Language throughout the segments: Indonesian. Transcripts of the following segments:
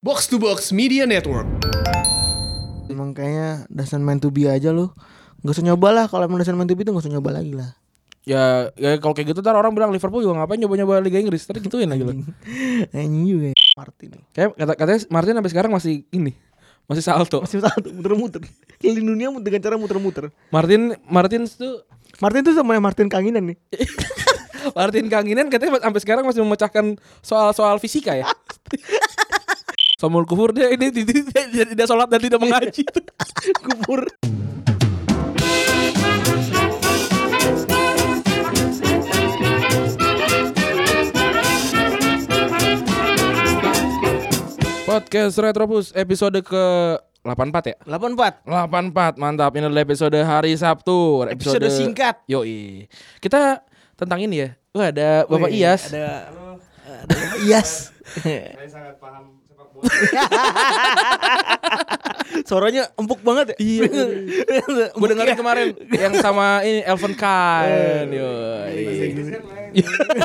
Box to Box Media Network. Emang kayaknya dasar main to be aja lu. Gak usah nyoba lah kalau emang dasar main to be itu gak usah nyoba lagi lah. Ya, ya kalau kayak gitu ntar orang bilang Liverpool juga ngapain nyoba-nyoba Liga Inggris. Ntar gituin lagi lo. Anjing juga ya Martin. Kayak kata katanya Martin sampai sekarang masih ini. Masih salto. Masih satu muter-muter. Keliling dunia dengan cara muter-muter. Martin Martin tuh Martin tuh sama Martin Kanginan nih. Martin Kanginan katanya sampai sekarang masih memecahkan soal-soal fisika ya. Somul kufur dia ini dia- dia- dia- dia tidak sholat dan tidak mengaji. Kubur. Podcast Retropus episode ke 84 ya? 84. 84 mantap ini adalah episode hari Sabtu Episode singkat. Yoi Kita tentang ini ya Wah ada Bapak Iyas Oh, iya, Ada ada Iyas. Suaranya empuk banget ya. Iya. Gue dengerin kemarin yang sama ini Elven Eh, Khan. Yo. iya,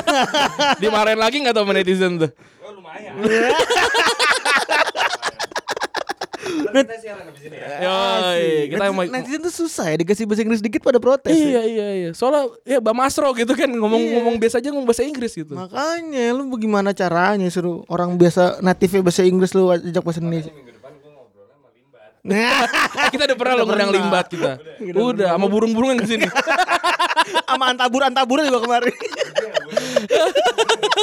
Dimarahin lagi nggak tau sama netizen tuh. ya. Yoi, kita mau Netizen tuh susah ya dikasih bahasa Inggris dikit pada protes. ya. Iya iya iya. Soalnya ya Bang Masro gitu kan Iya. ngomong-ngomong biasa aja ngomong bahasa Inggris gitu. Makanya lu bagaimana caranya suruh orang biasa native bahasa Inggris lu ajak bahasa Indonesia. Nah, Eh, kita udah pernah loh ngundang pernah. limbat kita. Udah sama burung-burungan ke sini. sama antabur antabur juga kemarin.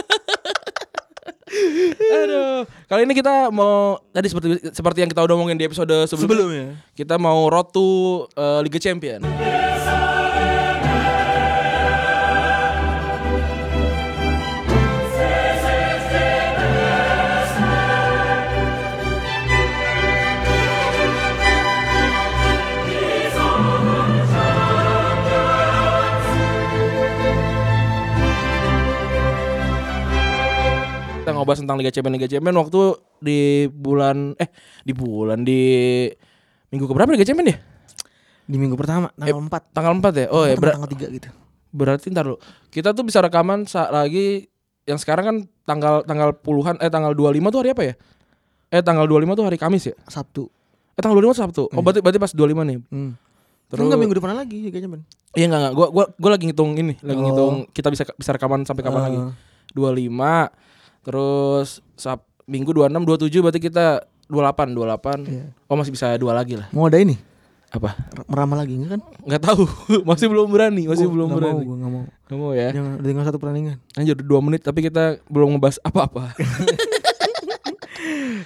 Aduh. Kali ini kita mau tadi seperti seperti yang kita udah omongin di episode sebelumnya. Kita mau road to uh, Liga Champion. Kita ngobrol tentang Liga Champion Liga Champion waktu di bulan eh di bulan di minggu keberapa Liga Champion ya? Di minggu pertama tanggal 4 Tanggal 4 ya. Oh ya, atau ber- tanggal 3 gitu. berarti ntar lu. Kita tuh bisa rekaman saat lagi yang sekarang kan tanggal tanggal puluhan eh tanggal 25 tuh hari apa ya? Eh tanggal 25 tuh hari Kamis ya? Sabtu. Eh tanggal 25 Sabtu. Oh berarti berarti pas 25 nih. Hmm. Terus- Terus enggak minggu depan lagi ya kayaknya, Ben. Iya enggak enggak. Gua gua gua lagi ngitung ini, lagi Oh. ngitung kita bisa bisa rekaman sampai kapan Ah. lagi. 25 terus Sab Minggu 26 27 berarti kita 28 28. Iya. Oh masih bisa dua lagi lah. Mau ada ini? Apa? R- Meramal lagi enggak kan? Enggak tahu. masih belum berani, masih Gua belum Oh, nggak berani. Mau, gua nggak mau. Nggak mau ya. Jangan dengan satu pertandingan. Anjir udah 2 menit tapi kita belum ngebahas apa-apa.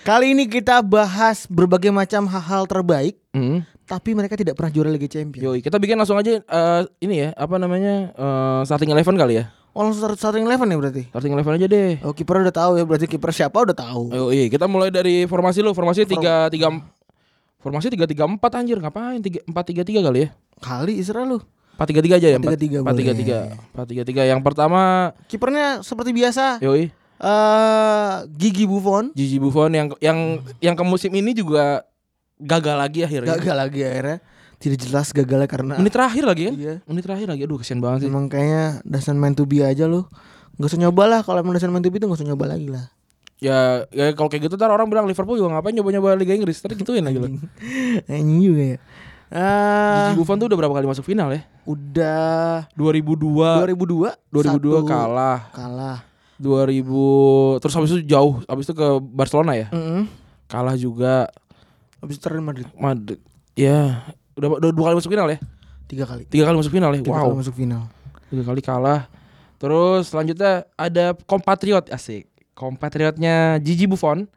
Kali ini kita bahas berbagai macam hal-hal terbaik Hmm. tapi mereka tidak pernah juara Liga Champions. Yoi, kita bikin langsung aja eh, ini ya, apa namanya? eh, starting eleven kali ya. Oh, langsung start- starting eleven ya berarti. Starting eleven aja deh. Oh, kiper udah tahu ya berarti kiper siapa udah tahu. Yoi, kita mulai dari formasi lu, formasi 3 3 Formasi 334 anjir, ngapain? 3 433 kali ya. Kali Israel lu. 433 aja ya, 4-3-3 433. 433. Yang pertama, Kipernya seperti biasa yoi, eh Gigi Buffon Gigi Buffon yang yang yang ke musim ini juga gagal lagi akhirnya. gagal lagi akhirnya. Tidak jelas gagalnya karena Menit terakhir lagi kan? Iya. Menit terakhir lagi. Aduh, kesian banget sih. emang kayaknya dasar main to be aja lu. Gak usah nyoba lah kalau emang dasar main to be itu gak usah nyoba lagi lah. Ya, ya kalau kayak gitu ntar orang bilang Liverpool juga ngapain nyoba-nyoba Liga Inggris. Ntar gituin lagi lo. Anjing juga ya. Eh, Gigi Buffon tuh udah berapa kali masuk final ya? udah 2002 2002 2002 satu kalah kalah. 2000 terus habis itu jauh habis itu ke Barcelona ya Heeh. kalah juga Habis itu Real Madrid Madrid ya udah, udah dua kali masuk final ya tiga kali. tiga kali masuk final ya Tiga wow kali masuk final. tiga kali kalah terus selanjutnya ada kompatriot asik kompatriotnya Gigi Buffon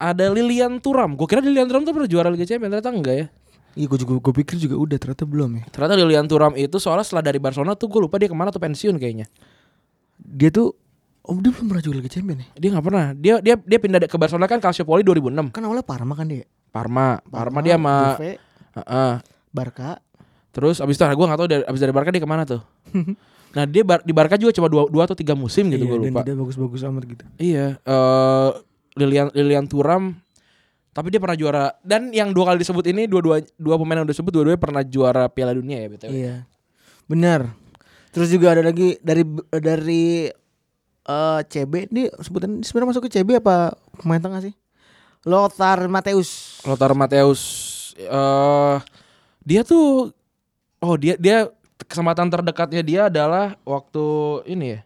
ada Lilian Thuram gue kira Lilian Thuram tuh pernah juara Liga Champions ternyata enggak ya Iya gue juga gue pikir juga udah ternyata belum ya. ternyata Lilian Thuram itu soalnya setelah dari Barcelona tuh gue lupa dia kemana tuh pensiun kayaknya Dia tuh Om dia belum pernah juga Liga Champion ya. dia nggak pernah dia dia dia pindah ke Barcelona kan Calciopoli 2006 Kan awalnya Parma kan dia. Parma, Parma dia sama Juve, Heeh. Barca. Terus abis itu nah, gue gak tau dari, abis dari Barca dia kemana tuh Nah dia bar, di Barca juga cuma dua, dua atau tiga musim gitu gue Iya, Dan lupa tidak bagus-bagus amat gitu. Iya eh Lilian, Lilian Thuram Tapi dia pernah juara Dan yang dua kali disebut ini Dua-dua dua pemain yang disebut Dua-duanya pernah juara Piala Dunia ya BTW Iya. Benar. Terus juga ada lagi dari dari eh, CB ini sebutan ini sebenarnya masuk ke CB apa pemain tengah sih? Lothar Mateus. Lothar Matthäus eh dia tuh oh dia dia kesempatan terdekatnya dia adalah waktu ini ya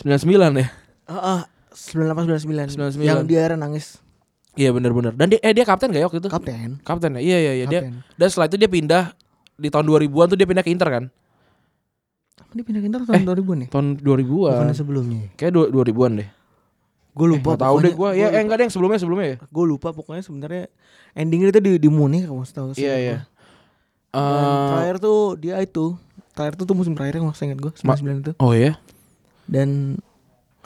99 ya. Heeh. 9899 99. yang dia akhirnya nangis Iya benar-benar. Dan dia eh dia kapten gak ya waktu itu? kapten kapten ya. Iya iya iya dia. Kapten. Dan setelah itu dia pindah di tahun 2000-an tuh dia pindah ke Inter kan? apa Kan dia pindah ke Inter tahun 2000 nih Tahun bukan 2000-an. sebelumnya Kayak du- 2000-an deh. gue lupa Gak tahu pokoknya- deh gua. Ya eh, enggak deh yang sebelumnya sebelumnya ya. gue lupa pokoknya sebenarnya endingnya itu di di Munich kamu tahu Iya iya. Dan Eh, terakhir tuh dia itu terakhir tuh, tuh musim terakhirnya nggak inget gue Ma- 99 itu oh iya. dan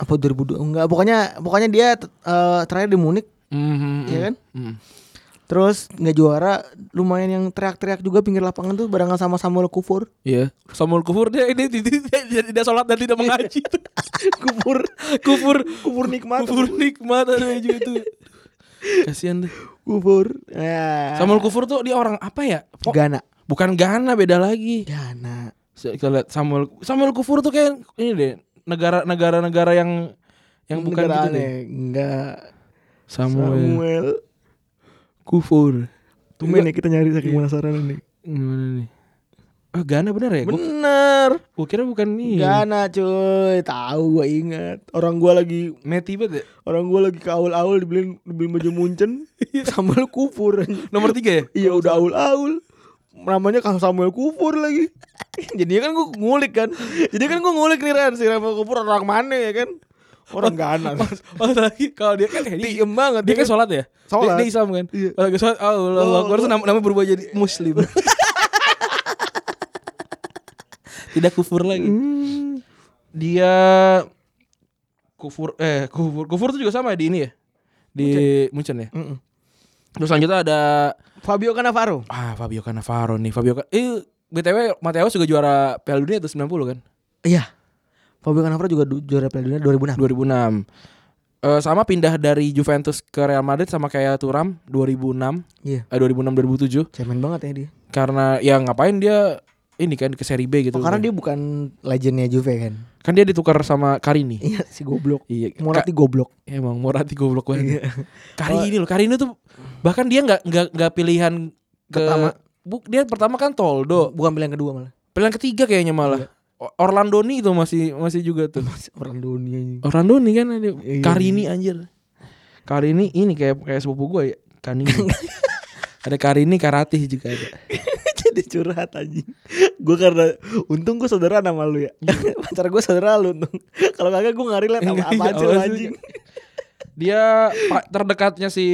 apa 2002 enggak pokoknya pokoknya dia eh, terakhir di Munich Mhm, Iya mhm, kan? mhm. terus nggak juara lumayan yang teriak-teriak juga pinggir lapangan tuh barengan sama Samuel Kufur Iya. Samuel Kufur dia ini dia, dia, dia tidak sholat dan tidak mengaji. Kufur Kufur Kufur nikmat Kufur nikmat aduh juga itu. Kasihan deh. Kufur ya. Oh. Samuel Kufur tuh dia orang apa ya? Po- Gana bukan Ghana beda lagi. Gana Se- Kita lihat Samuel Samuel Kufur tuh kayak ini deh negara negara negara yang yang bukan Negara gitu deh. aneh. enggak Samuel, Samuel Kufur. Tumen ya kita nyari Iya. saking penasaran ini Gimana nih? Oh, Ghana bener ya? Gua, Bener gua kira bukan ini. Gana cuy, tahu gue inget. Orang gue lagi Meti banget ya? orang gue lagi ke aul-aul dibeliin dibeliin baju Munchen Samuel Kufur. Nomor tiga ya? iya udah aul-aul. Namanya Kang Samuel Kufur lagi. Jadinya kan gue ngulik kan. Jadi kan gue ngulik nih Ren si Samuel Kufur orang mana ya kan? Orang Gana. Oh lagi kalau dia kan ini Diem banget Dia kan sholat ya? Sholat. Dia, dia Islam kan? Iya. Kalau nggak sholat, oh, Allah, Allah. Allah, Akbar, terus nama, nama berubah jadi Muslim. Tidak kufur lagi. Hmm. Dia kufur, eh kufur, kufur itu juga sama ya di ini ya? Di Munchen, ya? Mm-mm. Terus selanjutnya ada, Fabio Cannavaro. ah Fabio Cannavaro nih. Fabio, Ca- eh BTW Mateus juga juara Piala Dunia itu 90 kan? Iya. Fabio Cannavaro juga du- juara Piala Dunia 2006. 2006. Eh sama pindah dari Juventus ke Real Madrid sama kayak Turam 2006, Iya. eh 2006 2007 Cemen banget ya dia. karena ya ngapain dia ini kan ke seri B gitu. Oh, karena dia bukan legendnya Juve kan. kan dia ditukar sama Karini. Iya, si goblok. Iya. Iya. Ka- Morati goblok. emang Morati goblok banget. Karini loh, Karini tuh bahkan dia nggak nggak nggak pilihan ke Pertama. Bu- dia pertama kan Toldo, Bukan pilihan kedua malah. pilihan ketiga kayaknya malah. O- Orlandoni itu masih masih juga tuh. orang dunia ini. Orlandoni kan ada. Iya. Karini anjir. Karini ini kayak kayak sepupu gue ya. Karini. ada Karini Karatih juga ada. Jadi curhat anjing. Gue karena untung gue saudara sama lu ya. Pacar gue saudara lu untung. Kalau kagak gue ngari liat sama Iya, apaan sih lu apaan sih? anjing. Dia pa- terdekatnya si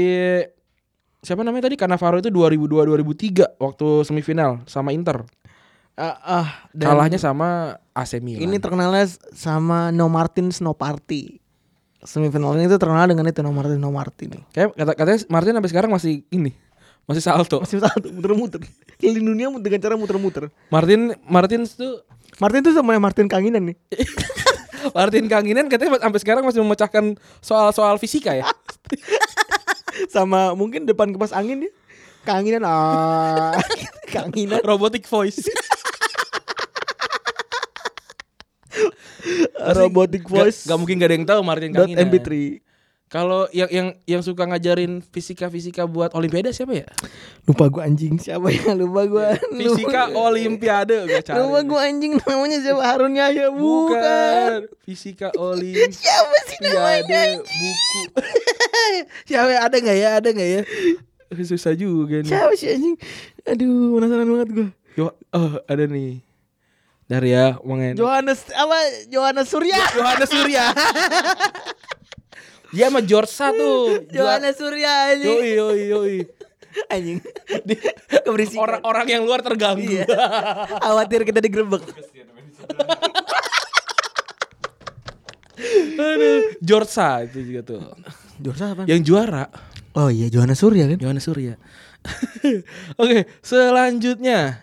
siapa namanya tadi Cannavaro itu 2002 2003 waktu semifinal sama Inter. Ah, ah, dan Kalahnya sama AC Milan. ini terkenalnya s- sama No Martin Snow Party. Semifinalnya itu terkenal dengan itu No Martin No Martin. kayak kata katanya Martin sampai sekarang masih ini. Masih salto. Masih satu muter-muter. Keliling dunia dengan cara muter-muter. Martin Martin tuh Martin itu sama Martin Kanginan nih. Martin Kanginan katanya sampai sekarang masih memecahkan soal-soal fisika ya. sama mungkin depan kipas angin ya. Kanginan ah. Kanginan. Robotic voice. Robotic voice. Gak, mungkin gak ada yang tahu Martin dot Kanginan. MP3. Kalau yang yang yang suka ngajarin fisika-fisika buat olimpiade siapa ya? Lupa gue anjing siapa ya lupa gue Fisika olimpiade gua cari. Lupa gue anjing namanya siapa Harun Yahya bukan. Iya, Bukan. Fisika olimpiade Siapa sih namanya? buku. Siapa ada nggak ya ada nggak ya? Susah juga nih. Siapa sih anjing? Aduh penasaran banget gue. Yo, oh, ada nih. ya, Darya Mangen. Johannes apa Johannes Surya? Johannes Surya. Dia sama George satu. Johannes Surya anjing. Yoi yoi yoi. Anjing. Keberisikan. Iya. Orang-orang yang luar terganggu. Khawatir kita digerebek. Aduh, George Sa itu juga tuh. Johannes apa? Yang juara Oh iya Johannes Surya kan? Yohanes Surya. Oke, selanjutnya.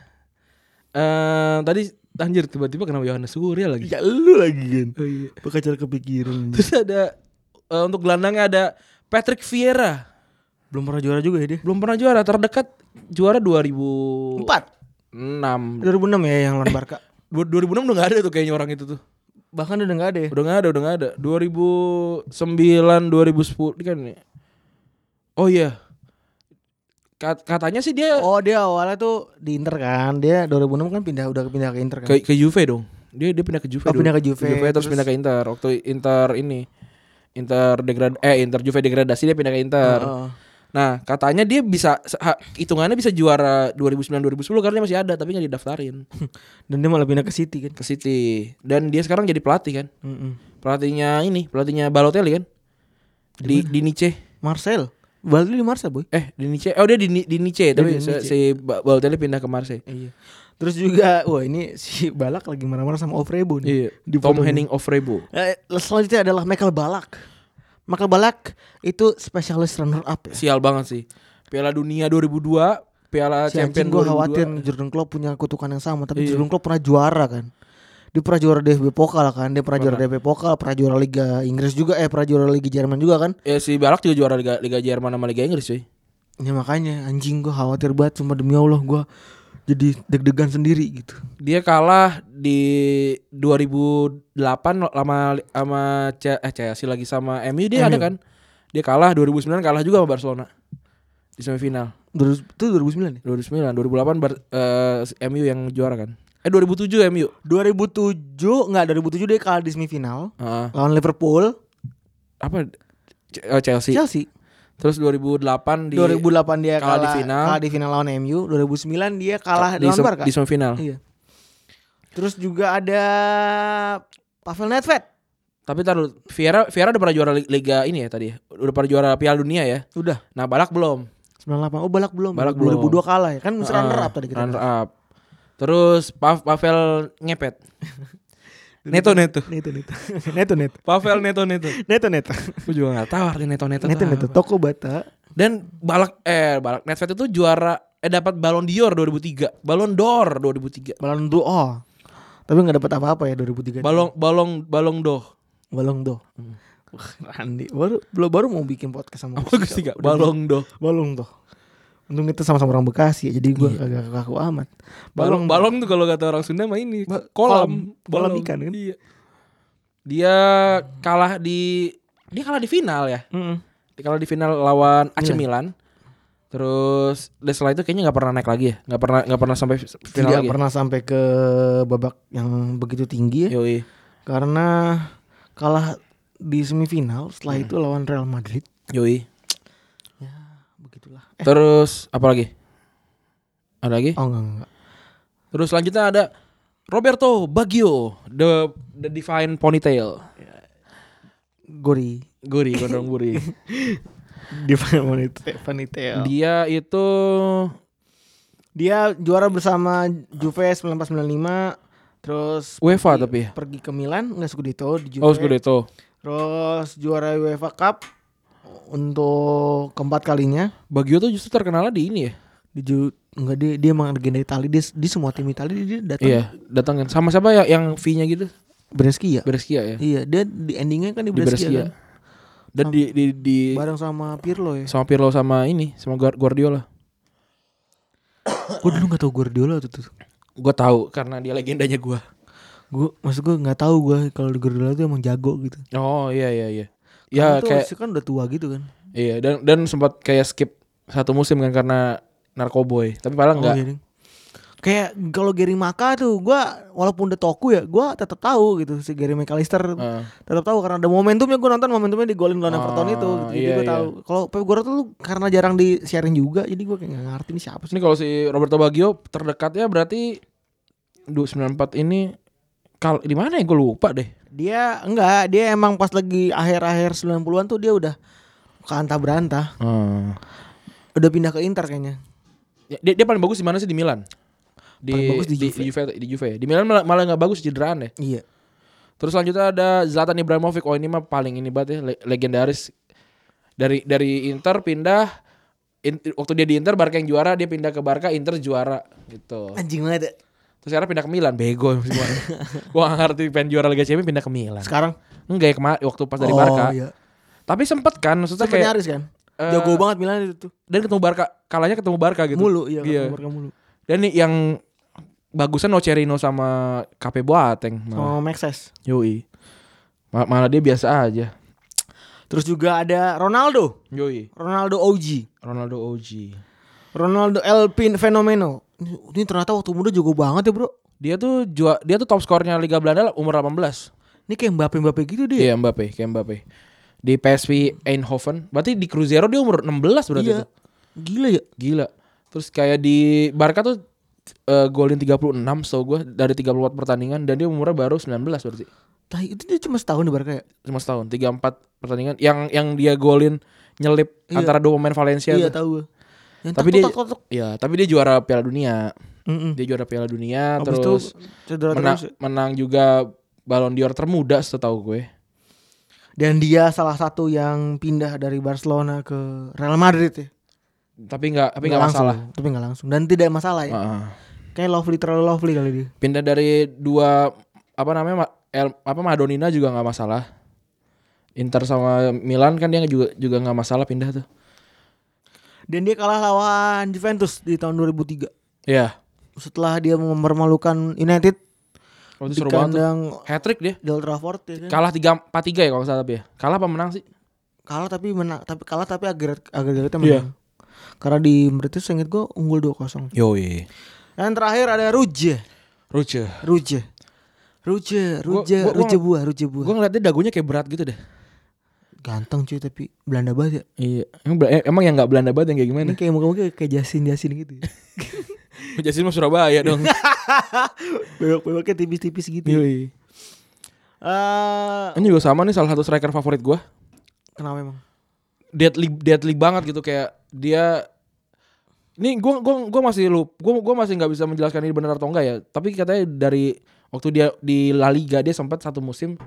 Eh tadi anjir tiba-tiba kenapa Yohanes Surya lagi? Ya lu lagi kan. Iya. Oh, iya. Pakai cara kepikiran. Terus ada eh, untuk gelandangnya ada Patrick Vieira. Belum pernah juara juga ya dia. Belum pernah juara, terdekat juara 2006. Empat. 2006 2006 ya yang lawan Barca. udah gak ada tuh kayaknya orang itu tuh. Bahkan udah nggak ada ya. Udah gak ada, udah gak ada. 2009, 2010 ini kan Oh iya. Kat- Katanya sih dia Oh dia awalnya tuh di Inter kan Dia 2006 kan pindah udah pindah ke Inter kan ke ke Juve dong. Dia dia pindah ke Juve. Oh, dulu. pindah ke Juve, terus, terus- pindah ke Inter. Waktu Inter ini Inter degrad eh Inter Juve degradasi dia pindah ke Inter. Heeh. Nah, katanya dia bisa se- ha- hitungannya bisa juara 2009 2010 karena dia masih ada tapi nggak didaftarin Dan dia malah pindah ke City kan ke City. Dan dia sekarang jadi pelatih kan. Mm-mm. Pelatihnya ini, pelatihnya Balotelli kan. Di di Nice. Marcel Balik di Marcel boy Eh, di Nice. Oh, dia di Ni- di Nice, tapi di se- Nice. si Ba- Balotelli pindah ke Marseille. Iya Terus juga Wah ini si Balak lagi marah-marah sama Ofrebo nih Iya, Tom Henning of Rebo. Eh, selanjutnya adalah Michael Balak. Michael Balak itu spesialis runner up ya. Sial banget sih. Piala Dunia 2002, Piala Si Champion anjing 2002. gue khawatir Jordan Klopp punya kutukan yang sama, tapi Iya. Jordan Klopp pernah juara kan. Dia pernah juara DFB Pokal kan, dia pernah juara DFB Pokal, pernah juara Liga Inggris juga, eh pernah juara Liga Jerman juga kan. Ya si Balak juga juara Liga, Liga Jerman sama Liga Inggris cuy. Ya makanya anjing gue khawatir banget, cuma demi Allah gue jadi deg-degan sendiri gitu. Dia kalah di 2008 sama sama C- eh, Chelsea lagi sama MU dia ada kan. Dia kalah 2009 kalah juga sama Barcelona di semifinal. Terus itu 2009 ya? 2009, 2008 Bar- eh, MU yang juara kan. Eh 2007 MU. 2007 enggak 2007 dia kalah di semifinal Heeh. lawan Liverpool, apa C- eh, Chelsea. Chelsea. Terus 2008 di 2008 dia kalah, kalah di final. kalah di final lawan MU, 2009 dia kalah di, lawan sem- Barca. di semifinal. ah, Iya. Terus juga ada Pavel Nedved Tapi tar dulu, Vieira Vieira udah pernah juara li- liga ini ya tadi ya. Udah pernah juara Piala Dunia ya. udah Nah, Balak belum. 98. Oh, Balak belum. Balak 2002 belum. Ah, kalah ya. Kan mesti runner up tadi kita. Runner up. Terus Pav Pavel ngepet. neto neto. Neto neto. neto neto. Pavel neto neto. Neto neto. Gue juga gak tahu arti neto neto. Neto tuh neto apa. toko bata. Dan Balak eh Balak Netfet itu juara eh dapat Ballon d'Or 2003, Ballon d'Or 2003. Balon do oh. Tapi nggak dapat apa-apa ya 2003. Balong Hmm. balong balong doh. Balong do. Wah, Randi baru belum baru mau bikin podcast sama Apa Gusti Kak? Balong doh. Balong do. Untung kita sama-sama orang Bekasi ya, jadi gua agak kaku amat. Iya. Balong balong tuh kalau kata orang Sunda mah ini Ba- kolam, kolam. Kolam ikan kan? Iya. Dia kalah di dia kalah di final ya. Mm-mm. Dia kalah di final lawan AC Milan. Milan. Terus dan setelah itu kayaknya nggak pernah naik lagi ya. Nggak pernah nggak pernah sampai final tidak lagi. ya? pernah ya? sampai ke babak yang begitu tinggi ya. Yoi. Karena kalah di semifinal setelah itu lawan Real Madrid. Yoi. Begitulah. Terus apa lagi? Ada lagi? Oh enggak enggak. enggak. Terus selanjutnya ada Roberto Baggio, the the divine ponytail. Gori. Guri, gondrong guri. Di Vanite- Vanitel. Dia itu Dia juara bersama Juve 1995 terus UEFA pergi- tapi ya? pergi ke Milan enggak Scudetto di Juve. Oh, Scudetto. Terus juara UEFA Cup untuk keempat kalinya. Baggio tuh justru terkenalnya di ini ya. Di Ju enggak dia dia emang legenda Italia dia di semua tim Italia dia datang. Iya, datang kan sama siapa ya yang V-nya gitu? Brescia. Bereskia ya. Iya, dia di endingnya kan di Di Brescia, Bereskia. kan? Dan di di di bareng sama Pirlo ya. sama Pirlo sama ini, sama Guar- Guardiola. Gue dulu gak tau Guardiola tuh. tuh. Gue tahu karena dia legendanya gua. Gue maksud gue nggak tahu gue kalau Guardiola tuh emang jago gitu. Oh, iya iya iya. Ya Karena tuh kayak harusnya kan udah tua gitu kan. iya dan dan sempat kayak skip satu musim kan karena Narkoboy. Tapi paling enggak. Oh, iya, ding. Kayak kalau Gary Maka tuh gue walaupun udah toku ya gue tetap tahu gitu si Gary McAllister Heeh. tetap tahu karena ada momentumnya gue nonton momentumnya di golin lawan Ah, Everton itu gitu. jadi iya, gue iya. tahu kalau Pep Guardiola tuh karena jarang di sharing juga jadi gue kayak nggak ngerti nih siapa sih Ini kalau si Roberto Baggio terdekatnya berarti 294 ini kal di mana ya gue lupa deh. dia enggak dia emang pas lagi akhir-akhir 90-an tuh dia udah kantah berantah Eh. udah pindah ke Inter kayaknya Ya, dia, dia paling bagus di mana sih di Milan? Di Paling bagus di di, Juve. di Juve. Di, Juve. Di Milan malah, malah nggak bagus cederaan ya. iya Terus selanjutnya ada Zlatan Ibrahimovic. Oh ini mah paling ini banget ya le- legendaris. Dari dari Inter pindah In- waktu dia di Inter Barca yang juara dia pindah ke Barca Inter juara gitu. anjing banget ya. Terus sekarang pindah ke Milan bego semua. Gua nggak ngerti pengen juara Liga Champions pindah ke Milan. sekarang Enggak ya kemarin waktu pas dari Oh, Barca. iya. Tapi sempet kan maksudnya Sampai kayak nyaris kan eh, jago banget Milan itu tuh dan ketemu Barca kalahnya ketemu Barca gitu. mulu iya, Iya. ketemu Barca mulu Dan nih yang bagusan Nocerino sama KP Boateng malah. sama Maxes Yoi. Ma- Malah dia biasa aja. Terus juga ada Ronaldo, Yoi. Ronaldo OG, Ronaldo OG. Ronaldo Elpin Fenomeno. Ini, ini ternyata waktu muda jago banget ya bro. Dia tuh jua, dia tuh top skornya Liga Belanda umur 18. Ini kayak Mbappe Mbappe gitu dia. Iya Mbappe, kayak Mbappe. Di PSV Eindhoven, berarti di Cruzeiro dia umur 16 berarti Iya. tuh. Gila ya. Gila. Terus kayak di Barca tuh eh, golin 36 so gue dari 34 pertandingan dan dia umurnya baru 19 berarti. Tah, itu dia cuma setahun di Barca ya. Cuma setahun, 34 pertandingan yang yang dia golin nyelip antara dua pemain Valencia. gitu. Iya tuh. tahu gue. Yang Tapi tok, dia tok, tok, tok. Iya, tapi dia juara Piala Dunia. Mm-mm. Dia juara Piala Abis Dunia itu terus ya? cedera menang, terus. menang juga Ballon d'Or termuda setahu gue. Dan dia salah satu yang pindah dari Barcelona ke Real Madrid ya. Tapi nggak tapi nggak langsung, masalah. Tapi nggak langsung. Dan tidak masalah ya. Heeh. Kayak lovely terlalu lovely kali dia. Pindah dari dua apa namanya Ma- El, apa Madonina juga nggak masalah. Inter sama Milan kan dia juga juga nggak masalah pindah tuh. Dan dia kalah lawan Juventus di tahun 2003. Iya. Setelah dia mempermalukan United Waktu di seru banget tuh. kandang Hat-trick dia. di Old Trafford ya kan. Kalah 3 4 3 ya kalau nggak salah tapi ya. Kalah apa menang sih? Kalah tapi menang, tapi kalah tapi agregat agregatnya menang. Karena di Madrid seinget gue unggul 2-0. Yoi. Dan terakhir ada Ruje. Ruce. Ruje. Ruje, Ruje, gua- gua- Ruje buah, Ruje buah. Gue ngeliat dia dagunya kayak berat gitu deh. Ganteng cuy tapi Belanda banget ya. Iya. Emang, Bel- emang yang nggak Belanda banget yang kayak gimana? Ini kayak muka-muka kayak Jasin-Jasin gitu. ya. Jasin mah Surabaya dong. Bewok-bewoknya tipis-tipis gitu. ya. Yoi. Eh, Ini juga sama nih salah satu striker favorit gue. kenapa emang? deadly deadly banget gitu kayak dia ini gua gua gua masih lu gua gua masih nggak bisa menjelaskan ini benar atau enggak ya tapi katanya dari waktu dia di La Liga dia sempat satu musim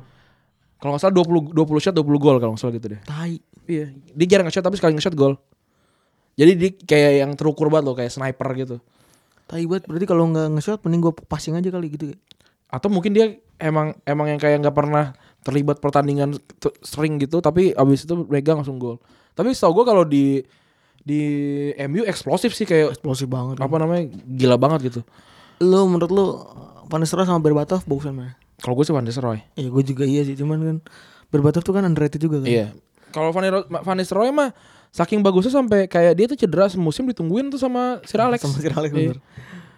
kalau nggak salah 20 20 shot 20 gol kalau nggak salah gitu deh Tai. iya dia jarang nge-shot tapi sekali nge-shot gol jadi dia kayak yang terukur banget loh kayak sniper gitu Tai banget berarti kalau nggak nge-shot mending gue passing aja kali gitu. ya. atau mungkin dia emang emang yang kayak nggak pernah terlibat pertandingan t- sering gitu tapi abis itu megang langsung gol tapi setahu gua kalau di di MU eksplosif sih kayak Eksplosif banget. apa namanya gila banget gitu Lu menurut lu Van der Sar sama Berbatov bagusan mana? kalau gue sih Van Nistelrooy Iya gue juga iya sih cuman kan Berbatov tuh kan underrated juga kan. iya kalau Van Niro- Van Nistelrooy mah saking bagusnya sampai kayak dia tuh cedera semusim ditungguin tuh sama Sir Alex Sama Sir Alex, iya. bener.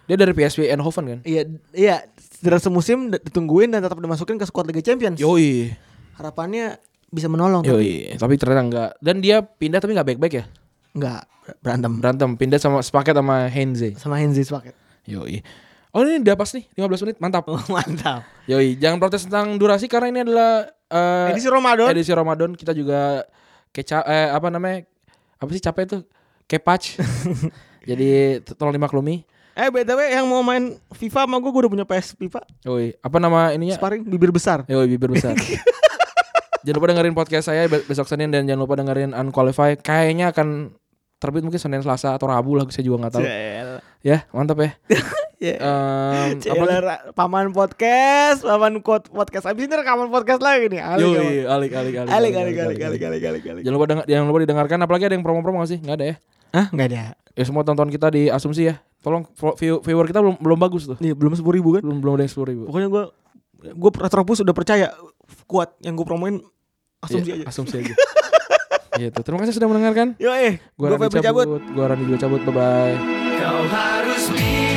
dia dari PSV Eindhoven kan Iya iya cedera semusim d- ditungguin dan tetap dimasukin ke squad Liga Champions. yoi Harapannya bisa menolong tapi yoi tapi ternyata enggak dan dia pindah tapi nggak baik-baik ya nggak ber- berantem berantem pindah sama sepaket sama Heinze sama Henzi sepaket. yoi oh ini udah pas nih 15 menit mantap Oh. Mantap. yoi jangan protes tentang durasi karena ini adalah eh, Edisi Ramadan. edisi Ramadan kita juga keca eh, apa namanya apa sih capek tuh kepatch jadi to- tolong dimaklumi Eh btw yang mau main FIFA sama gue gue udah punya PS FIFA. Yoi, apa nama ininya Sparring bibir besar. Yoi, bibir besar jangan lupa dengerin podcast saya be- besok Senin dan jangan lupa dengerin Unqualified kayaknya akan terbit mungkin Senin Selasa atau Rabu lah saya juga nggak tahu Cel. ya mantap ya Ya. Em, apa lagi? Celer, paman podcast, paman Quote podcast. Abis ini rekaman podcast lagi nih. Alik, Yoi, alik alik alik alik, alik, alik, alik, alik, alik, alik. jangan lupa denger, jangan lupa didengarkan apalagi ada yang promo-promo nggak sih nggak ada ya Ah, nggak ada. ya semua tonton kita di asumsi ya tolong fo- view- viewer kita belum belum bagus tuh Iya, belum sepuluh ribu kan? belum belum ada yang sepuluh ribu Pokoknya gue, gue Retropus udah percaya kuat yang gue promoin asumsi Iya, aja. Asumsi aja. gitu. Terima kasih sudah mendengarkan. Yo eh, Gua gue Rani Febri cabut. Gua Rani juga cabut. Bye bye. Kau harus bisa